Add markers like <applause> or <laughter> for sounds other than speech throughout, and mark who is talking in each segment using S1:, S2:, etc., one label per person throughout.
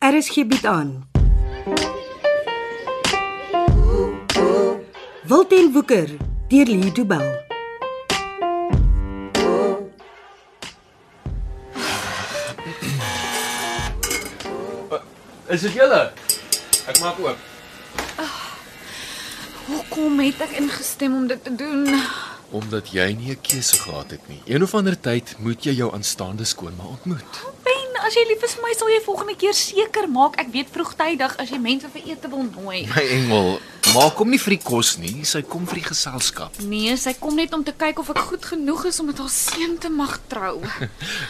S1: RSG bied Er aan. Wilten Woeker deur Lee Du Bell.
S2: Eh, Is dit julle? Ek maak oop.
S3: Hoekom het ek ingestem om dit te doen?
S2: Omdat jy nie 'n keuse gehad het nie. Een of ander tyd moet jy jou aanstaande skoonma ontmoet.
S3: Ben, as jy lief is vir my, sal jy volgende keer seker maak ek weet vroegtydig as jy mense vir ete wil nooi.
S2: My engel, maak hom nie vir die kos nie, sy kom vir die geselskap.
S3: Nee, sy kom net om te kyk of ek goed genoeg is om met haar seun te mag trou.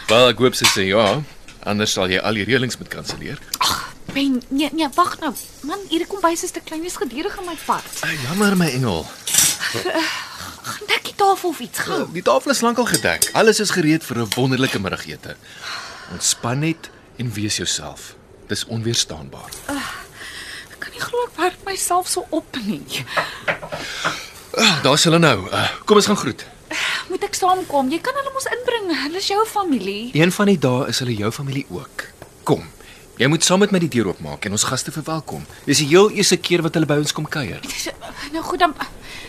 S2: Wel, ek hoop sy sê ja, anders sal jy al die reëlings moet kanselleer.
S3: Ben, nee, nee, wag nou. Man, hierdie kombuis is te klein, jy's gedurig in my pad.
S2: Ay, Eh, jammer my engel.
S3: Gaan dek die tafel of iets gou.
S2: Die tafel is lankal gedek. Alles is gereed vir 'n wonderlike middagete. Ontspan net en wees jouself. Dis onweerstaanbaar.
S3: Ek kan nie glo ek werk myself so op nie.
S2: Ah, Daar's hulle nou. Uh, kom ons gaan groet.
S3: Moet ek saamkom? Jy kan hulle mos inbring. Hulle is jou familie.
S2: Een van die dae is hulle jou familie ook. Kom. Jy moet saam met my die deur oopmaak en ons gaste verwelkom. Dis die heel eerste keer wat hulle by ons kom kuier.
S3: Dis- Nou goed dan.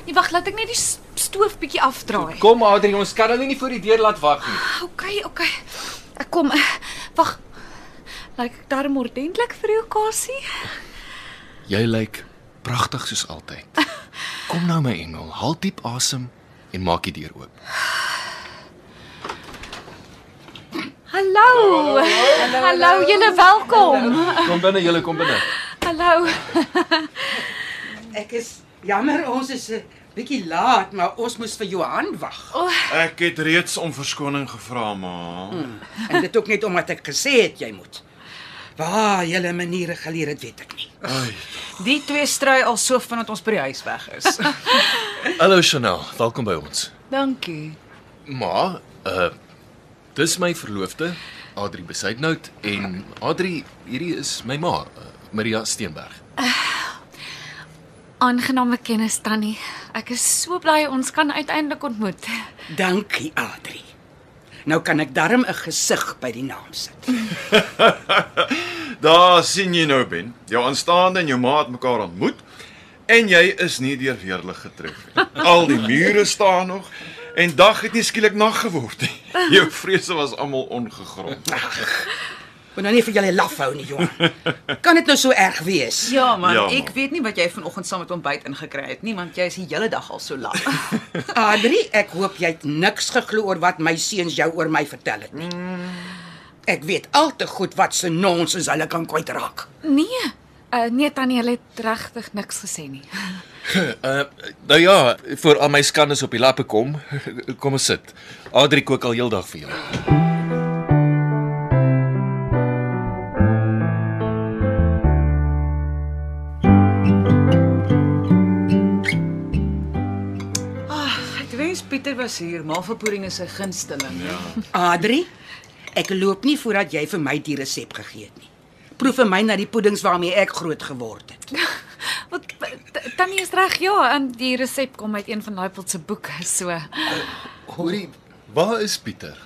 S3: Nee, wag, laat ek net die s- stoof bietjie afdraai.
S2: Kom Adrie, ons kan hulle nie voor die deur laat wag nie.
S3: OK, OK. Ek kom. eh, Wag. Lyk ek darm ordentlik vir die okasie?
S2: Jy lyk pragtig soos altyd. Kom nou my engel, haal diep asem en maak die deur oop.
S3: Hallo. Hallo, julle welkom.
S2: Kom binne, julle kom binne.
S3: Hallo.
S4: Ek is jammer ons is 'n bietjie laat, maar ons moes vir Johan wag.
S5: Ek het reeds om verskoning gevra, ma. Hmm.
S4: En dit ook net omdat ek gesê het jy moet. Waar julle maniere geleer het, weet ek nie.
S6: Die twee stry al so vandat ons by die huis weg is.
S2: Hallo Chanel, welkom by ons.
S6: Dankie.
S2: Ma, uh dis my verloofde, Adrie Besuitnout en Adrie, hierdie is my ma, uh, Maria Steenberg.
S3: Aangename kennis tannie. Ek is so bly ons kan uiteindelik ontmoet.
S4: Dankie, Adri. Nou kan ek darm 'n gesig by die naam sit.
S5: Daar sien jy nou Ben. Jou aanstaande en jou maat mekaar ontmoet en jy is nie deur weerlig getref nie. Al die mure staan nog en dag het nie skielik nag geword nie. Jou vrese was almal ongegrond.
S4: Moet nou nie vir julle laf hou nie, Johan. Kan dit nou so erg wees?
S6: Ja man,
S5: Ja,
S6: ja,
S5: man.
S6: ek weet nie wat jy vanoggend saam met ontbyt ingekry het nie, want jy is die hele dag al so
S5: <laughs>
S6: lank.
S4: Adri, ek hoop jy het niks geglo oor wat my seuns jou oor my vertel het nie. Ek weet al te goed wat se nonsens hulle kan kwytraak.
S3: Nee. Uh, nee tannie, hulle het regtig niks gesê nie.
S2: Uh nou ja, voor al my skandes op die lappe kom, <laughs> kom ons sit. Adri kook al heeldag vir julle.
S6: Ah, ek wens Pieter was hier, malverpoering is sy gunsteling. Ja.
S4: Adri, ek loop nie voordat jy vir my die resep gegee het nie. Proef vir my na die puddings waarmee ek groot geword het.
S3: Wat eh, t- tannie is reg, ja, en die resep kom uit een van Leipold se boeke, so.
S2: Hoorie, waar is Pieter?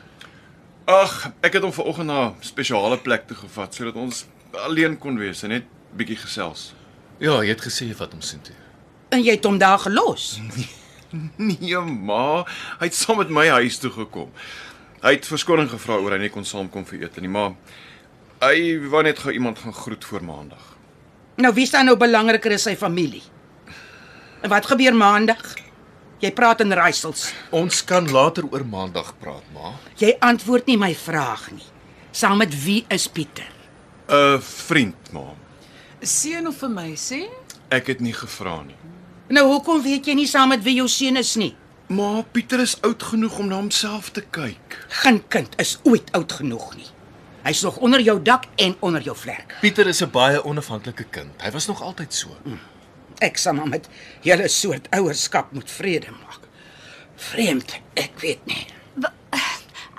S5: Ag, ek het hom vanoggend na 'n spesiale plek toe gevat sodat ons alleen kon wees en net bietjie gesels.
S2: Ja, jy het gesê wat om sien toe.
S4: En jy het hom daar gelos.
S5: <laughs> Nee, ma, hy het saam met my huis toe gekom. Hy het verskoning gevra oor hy nie kon saamkom vir ete nie, maar hy wou net gou iemand gaan groet voor maandag.
S4: Nou wie staan nou belangriker is sy familie? En wat gebeur maandag? Jy praat in raaisels.
S2: Ons kan later oor maandag praat, ma.
S4: Jy antwoord nie my vraag nie. Saam met wie is Pieter?
S5: 'n Vriend, ma.
S6: Seun of vir my sê?
S5: Ek het nie gevra nie.
S4: Nou hoekom weet jy nie saam met wie jou seun is nie?
S5: Maar Pieter is oud genoeg om na homself te kyk.
S4: Geen kind is ooit oud genoeg nie. Hy's nog onder jou dak en onder jou vlerk.
S2: Pieter is 'n baie onafhanklike kind. Hy was nog altyd so.
S4: Ek sal maar met julle soort ouerskap moet vrede maak. Vreemd, ek weet nie.
S3: <sighs>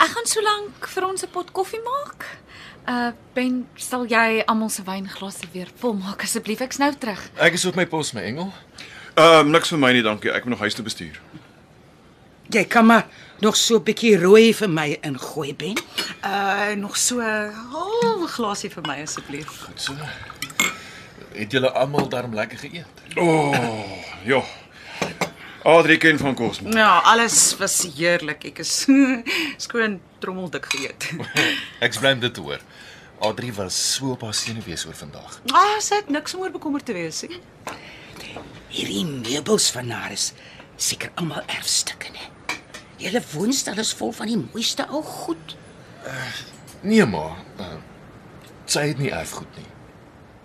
S3: Ek gaan so lank vir ons 'n pot koffie maak. Uh Ben, sal jy almal se wynglase weer vol maak asseblief? Ek's nou terug.
S2: Ek is op my pos, my engel.
S5: Ehm uh, niks vir my nie, dankie. Ek moet nog huis toe bestuur.
S4: Jy kan maar
S5: Ja.
S6: Eh,
S4: nog so 'n bietjie rooi vir my ingooi, Ben.
S6: Uh nog so half glasie vir my asseblief.
S2: Goed so. Het julle almal darm lekker geëet?
S5: Ja. Adrie ken van kos. maak.
S6: Ja, alles was heerlik. Ek is <laughs> skoon trommeldik geëet.
S2: Ek's bly om dit te hoor. Adri was so op haar senuwees oor vandag.
S6: <laughs> Ah, sy het niks om oor bekommerd te wees nie.
S4: Hierdie meubels van haar is seker almal erfstukke, né? Julle woonstel is vol van die mooiste ou goed.
S2: Nee ma, uh, sy het nie erf goed nie.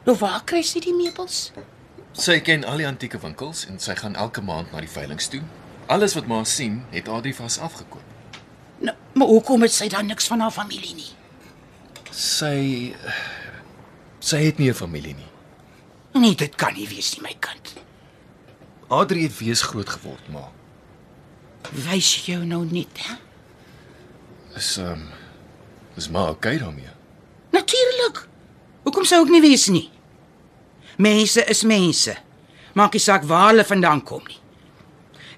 S4: Nou waar kry sy die meubels?
S2: Sy ken al die antieke winkels en sy gaan elke maand na die veilinge toe. Alles wat ma sien, het Adri vas afgekoop.
S4: Nou, maar hoekom het sy dan niks van haar familie nie?
S2: Sy sy het nie 'n familie nie.
S4: Nee, dit kan nie wees nie, my kind.
S2: Adri het wees groot geword, ma.
S4: Wys jou nou net, hè?
S2: Is ehm um, is maar okay daarmee.
S4: Natuurlik. Hoekom sou ek nie wees nie? Mense is mense. Maak nie saak waar hulle vandaan kom nie.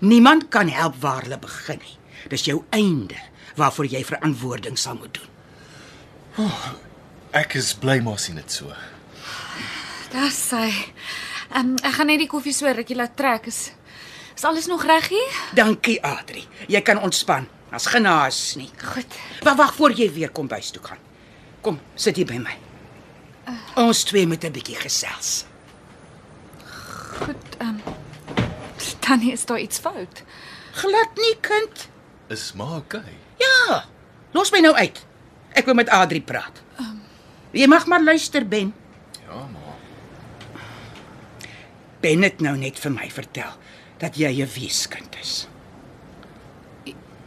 S4: Niemand kan help waar hulle begin nie. Dis jou einde waarvoor jy verantwoording sal moet doen.
S2: Ek is bly maar sien dit so.
S3: Dis sy. Ehm um, ek gaan net die koffie so rukkie laat trek. Is is alles nog reg hier?
S4: Dankie, Adri. Jy kan ontspan. As genaas nie.
S3: Goed.
S4: Maar wag voor jy weer kom bys toe gaan. Kom, sit hier by my. Ons twee moet 'n bietjie gesels.
S3: Goed. Ehm um, Tannie, is daar iets fout?
S4: Glad nie, kind.
S2: Is maar okay.
S4: Ja. Los my nou uit. Ek wil met Adri praat. Jy mag maar luister, Ben.
S2: Ja, ma.
S4: Ben het nou net vir my vertel dat jy 'n weeskind is.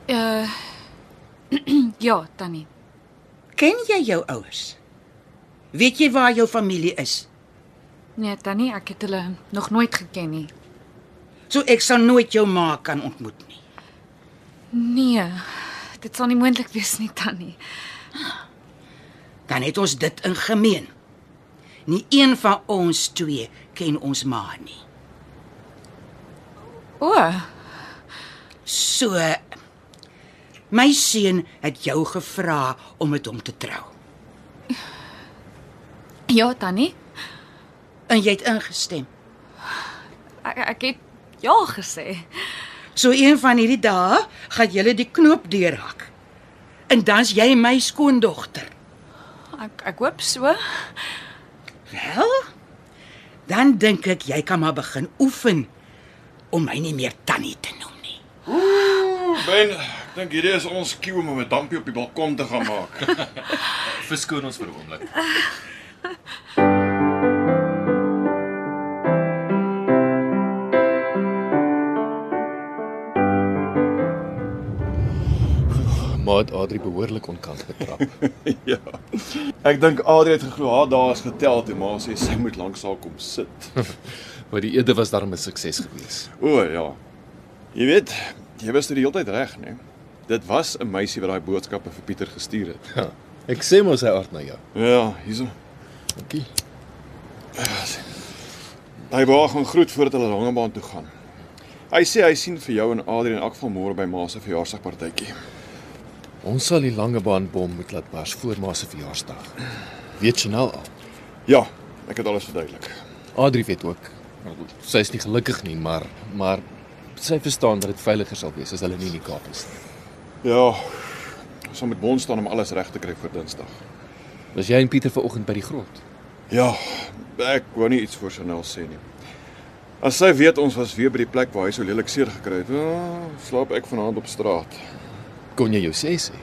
S3: Uh Ja, Tannie.
S4: Ken jy jou ouers? Weet jy waar jou familie is?
S3: Nee, Tannie, ek het hulle nog nooit geken nie.
S4: So ek sal nooit jou ma kan ontmoet nie.
S3: Nee. Dit sal nie moontlik wees nie, Tannie.
S4: Dan het ons dit in gemeen. Nie een van ons twee ken ons ma nie.
S3: O,
S4: So my seun het jou gevra om met hom te trou
S3: ja, Tannie.
S4: en jy het ingestem.
S3: Ek ek het ja gesê.
S4: So een van hierdie dae gaan julle die knoop deurhak. En dan's jy my skoondogter.
S3: Ek ek hoop so.
S4: Wel? Dan dink ek jy kan maar begin oefen om my nie meer tannie te noem nie.
S5: Ben, ek dink hierdie is ons cue om 'n dampie op die balkon te gaan maak.
S2: Verskoon ons vir 'n oomblik. Maat Adri behoorlik onkant <laughs> getrap.
S5: <laughs> ja. Ek dink Adrie het geglo haar daar is getel toe, maar sy sê sy moet langs haar kom sit.
S2: Maar die ede was darm 'n sukses gewees.
S5: O ja. Jy weet, jy was toe die hele tyd reg, né? Dit was 'n meisie wat daai boodskappe vir Pieter gestuur het.
S2: Ja. Ek sê mos hy aard na jou.
S5: Ja, hierso.
S2: Dankie.
S5: Hy wou gaan groet voordat hulle Langebaan toe gaan. Hy sê hy sien vir jou en Adrie in elk geval môre by ma se verjaarsdagpartytjie.
S2: Ons sal die langebaan bom moet laat bars voor ma se verjaarsdag. Weet Chanel al.
S5: Ja, ek het alles verduidelik.
S2: Adri weet ook. Sy is nie gelukkig nie, maar maar sy verstaan dat dit veiliger sal wees as hulle nie in die Kaap is nie.
S5: Ja. Ons sal met bond staan om alles reg te kry vir Dinsdag.
S2: Was jy en Pieter vanoggend by die grot?
S5: Ja, ek wou nie iets voor Chanel sê nie. As sy weet ons was weer by die plek waar hy so lelik seer gekry het, ja, slaap ek vanaand op straat.
S2: Kon jy jou sê sê?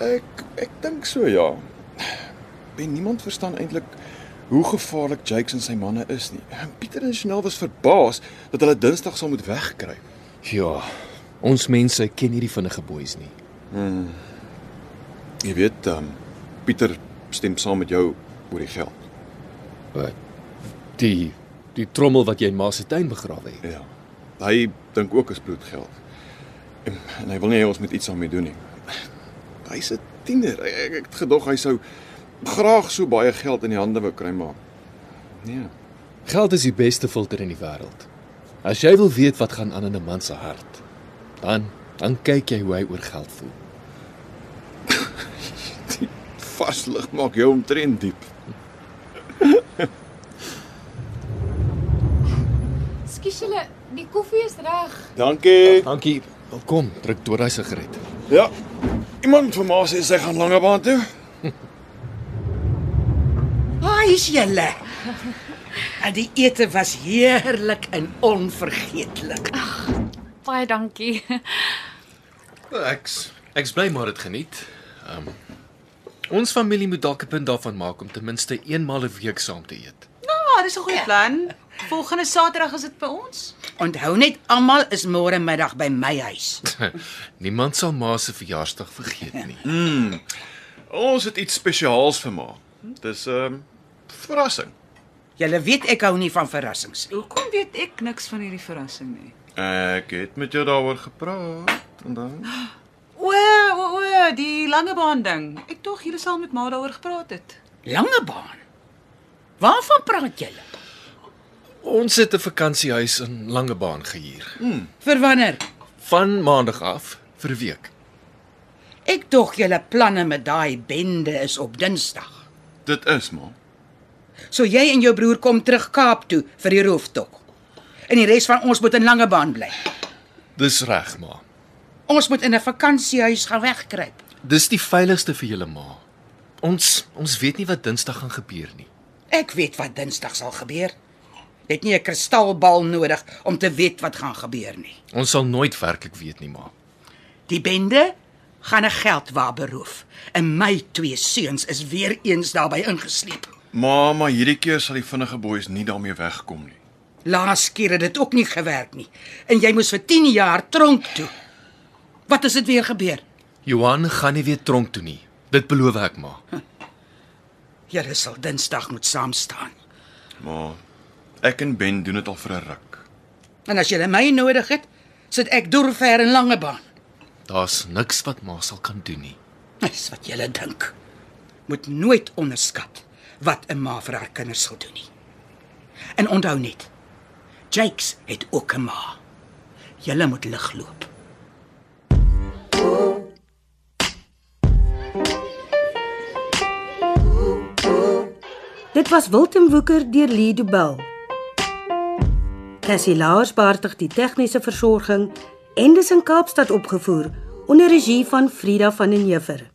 S5: Ek ek dink so ja. Ben niemand verstaan eintlik hoe gevaarlik Jakes en sy manne is nie. En Pieter en Chanel was verbaas dat hulle Dinsdag sal moet wegkry.
S2: Ja. Ons mense ken hierdie vinnige boeis nie.
S5: Jy weet, um, Pieter stem saam met jou oor die geld.
S2: Wat? Die die trommel wat jy in ma se tuin begrawe het.
S5: Ja. Hy dink ook is bloedgeld. En, en hy wil nie hê ons moet iets daarmee doen nie. Hy's 'n tiener. Ek, ek- ek het gedog hy sou graag so baie geld in die hande wou kry maar. Nee.
S2: Geld is die beste filter in die wêreld. As jy wil weet wat gaan aan in 'n man se hart, dan dan kyk jy hoe hy oor geld voel.
S5: <laughs> vaslig maak jou omtrent diep.
S3: Skus julle, die koffie is reg.
S5: Dankie.
S2: Dankie. Kom, druk toe daai sigaret.
S5: Ja. Iemand van my sê sy gaan langebaan toe.
S4: Waar is julle? En die ete was heerlik en onvergeetlik.
S3: Baie dankie.
S2: Ek's ek's bly maar dit geniet. Ehm um, ons familie moet dalk 'n punt daarvan maak om ten minste eenmal 'n week saam te eet.
S6: Ja, dis 'n goeie plan. Volgende Saterdag is dit by ons.
S4: Onthou net almal is môre middag by my huis.
S2: <laughs> Niemand sal ma se verjaarsdag vergeet nie.
S5: Ons het iets spesiaals vir ma. Dis 'n um, verrassing.
S4: Julle weet ek hou nie van verrassings.
S6: Hoekom weet ek niks van hierdie verrassing nie?
S5: Ek het met jou daaroor gepraat en dan
S6: O, o, o, die langebaan ding. Ek tog julle sal met ma daaroor gepraat het.
S4: Langebaan. Waarvan praat julle?
S2: Ons het 'n vakansiehuis in Langebaan gehuur.
S4: Vir wanneer?
S2: Van maandag af vir 'n week.
S4: Ek tog julle planne met daai bende is op Dinsdag.
S5: dit is ma.
S4: So jy en jou broer kom terug Kaap toe vir die rooftog. En die res van ons moet in Langebaan bly.
S2: Dis reg, ma.
S4: Ons moet in 'n vakansiehuis gaan wegkruip.
S2: Dis die veiligigste vir julle ma. Ons ons weet nie wat Dinsdag gaan gebeur nie.
S4: Ek weet wat Dinsdag sal gebeur. Jy het nie 'n kristalbal nodig om te weet wat gaan gebeur nie.
S2: Ons sal nooit werklik weet nie, ma.
S4: Die bende gaan 'n geldwa beroof en my twee seuns is weer eens daarbey ingesleep.
S5: Ma, maar hierdie keer sal die vinnige boeis nie daarmee wegkom nie.
S4: Laas keer het dit ook nie gewerk nie en jy moes vir 10 jaar tronk toe. Wat as dit weer gebeur?
S2: Johan gaan nie weer tronk toe nie. Dit beloof ek, ma.
S4: Julle sal Dinsdag moet saam staan.
S5: Ma, ek en Ben doen dit al vir 'n ruk.
S4: En as jy my nodig het, sit ek deurver in Langebaan.
S2: Daar's niks wat ma sal kan doen nie.
S4: Dis wat jy dink. Moet nooit onderskat wat 'n ma vir haar kinders sal doen nie. En onthou net, Jakes het ook 'n ma. Jy moet lig loop.
S1: Dit was Wilten Woeker deur Lee Du Bell. Cassie Lars beheer die tegniese versorging en dis in Kaapstad opgevoer onder regie van Frida van den Heever.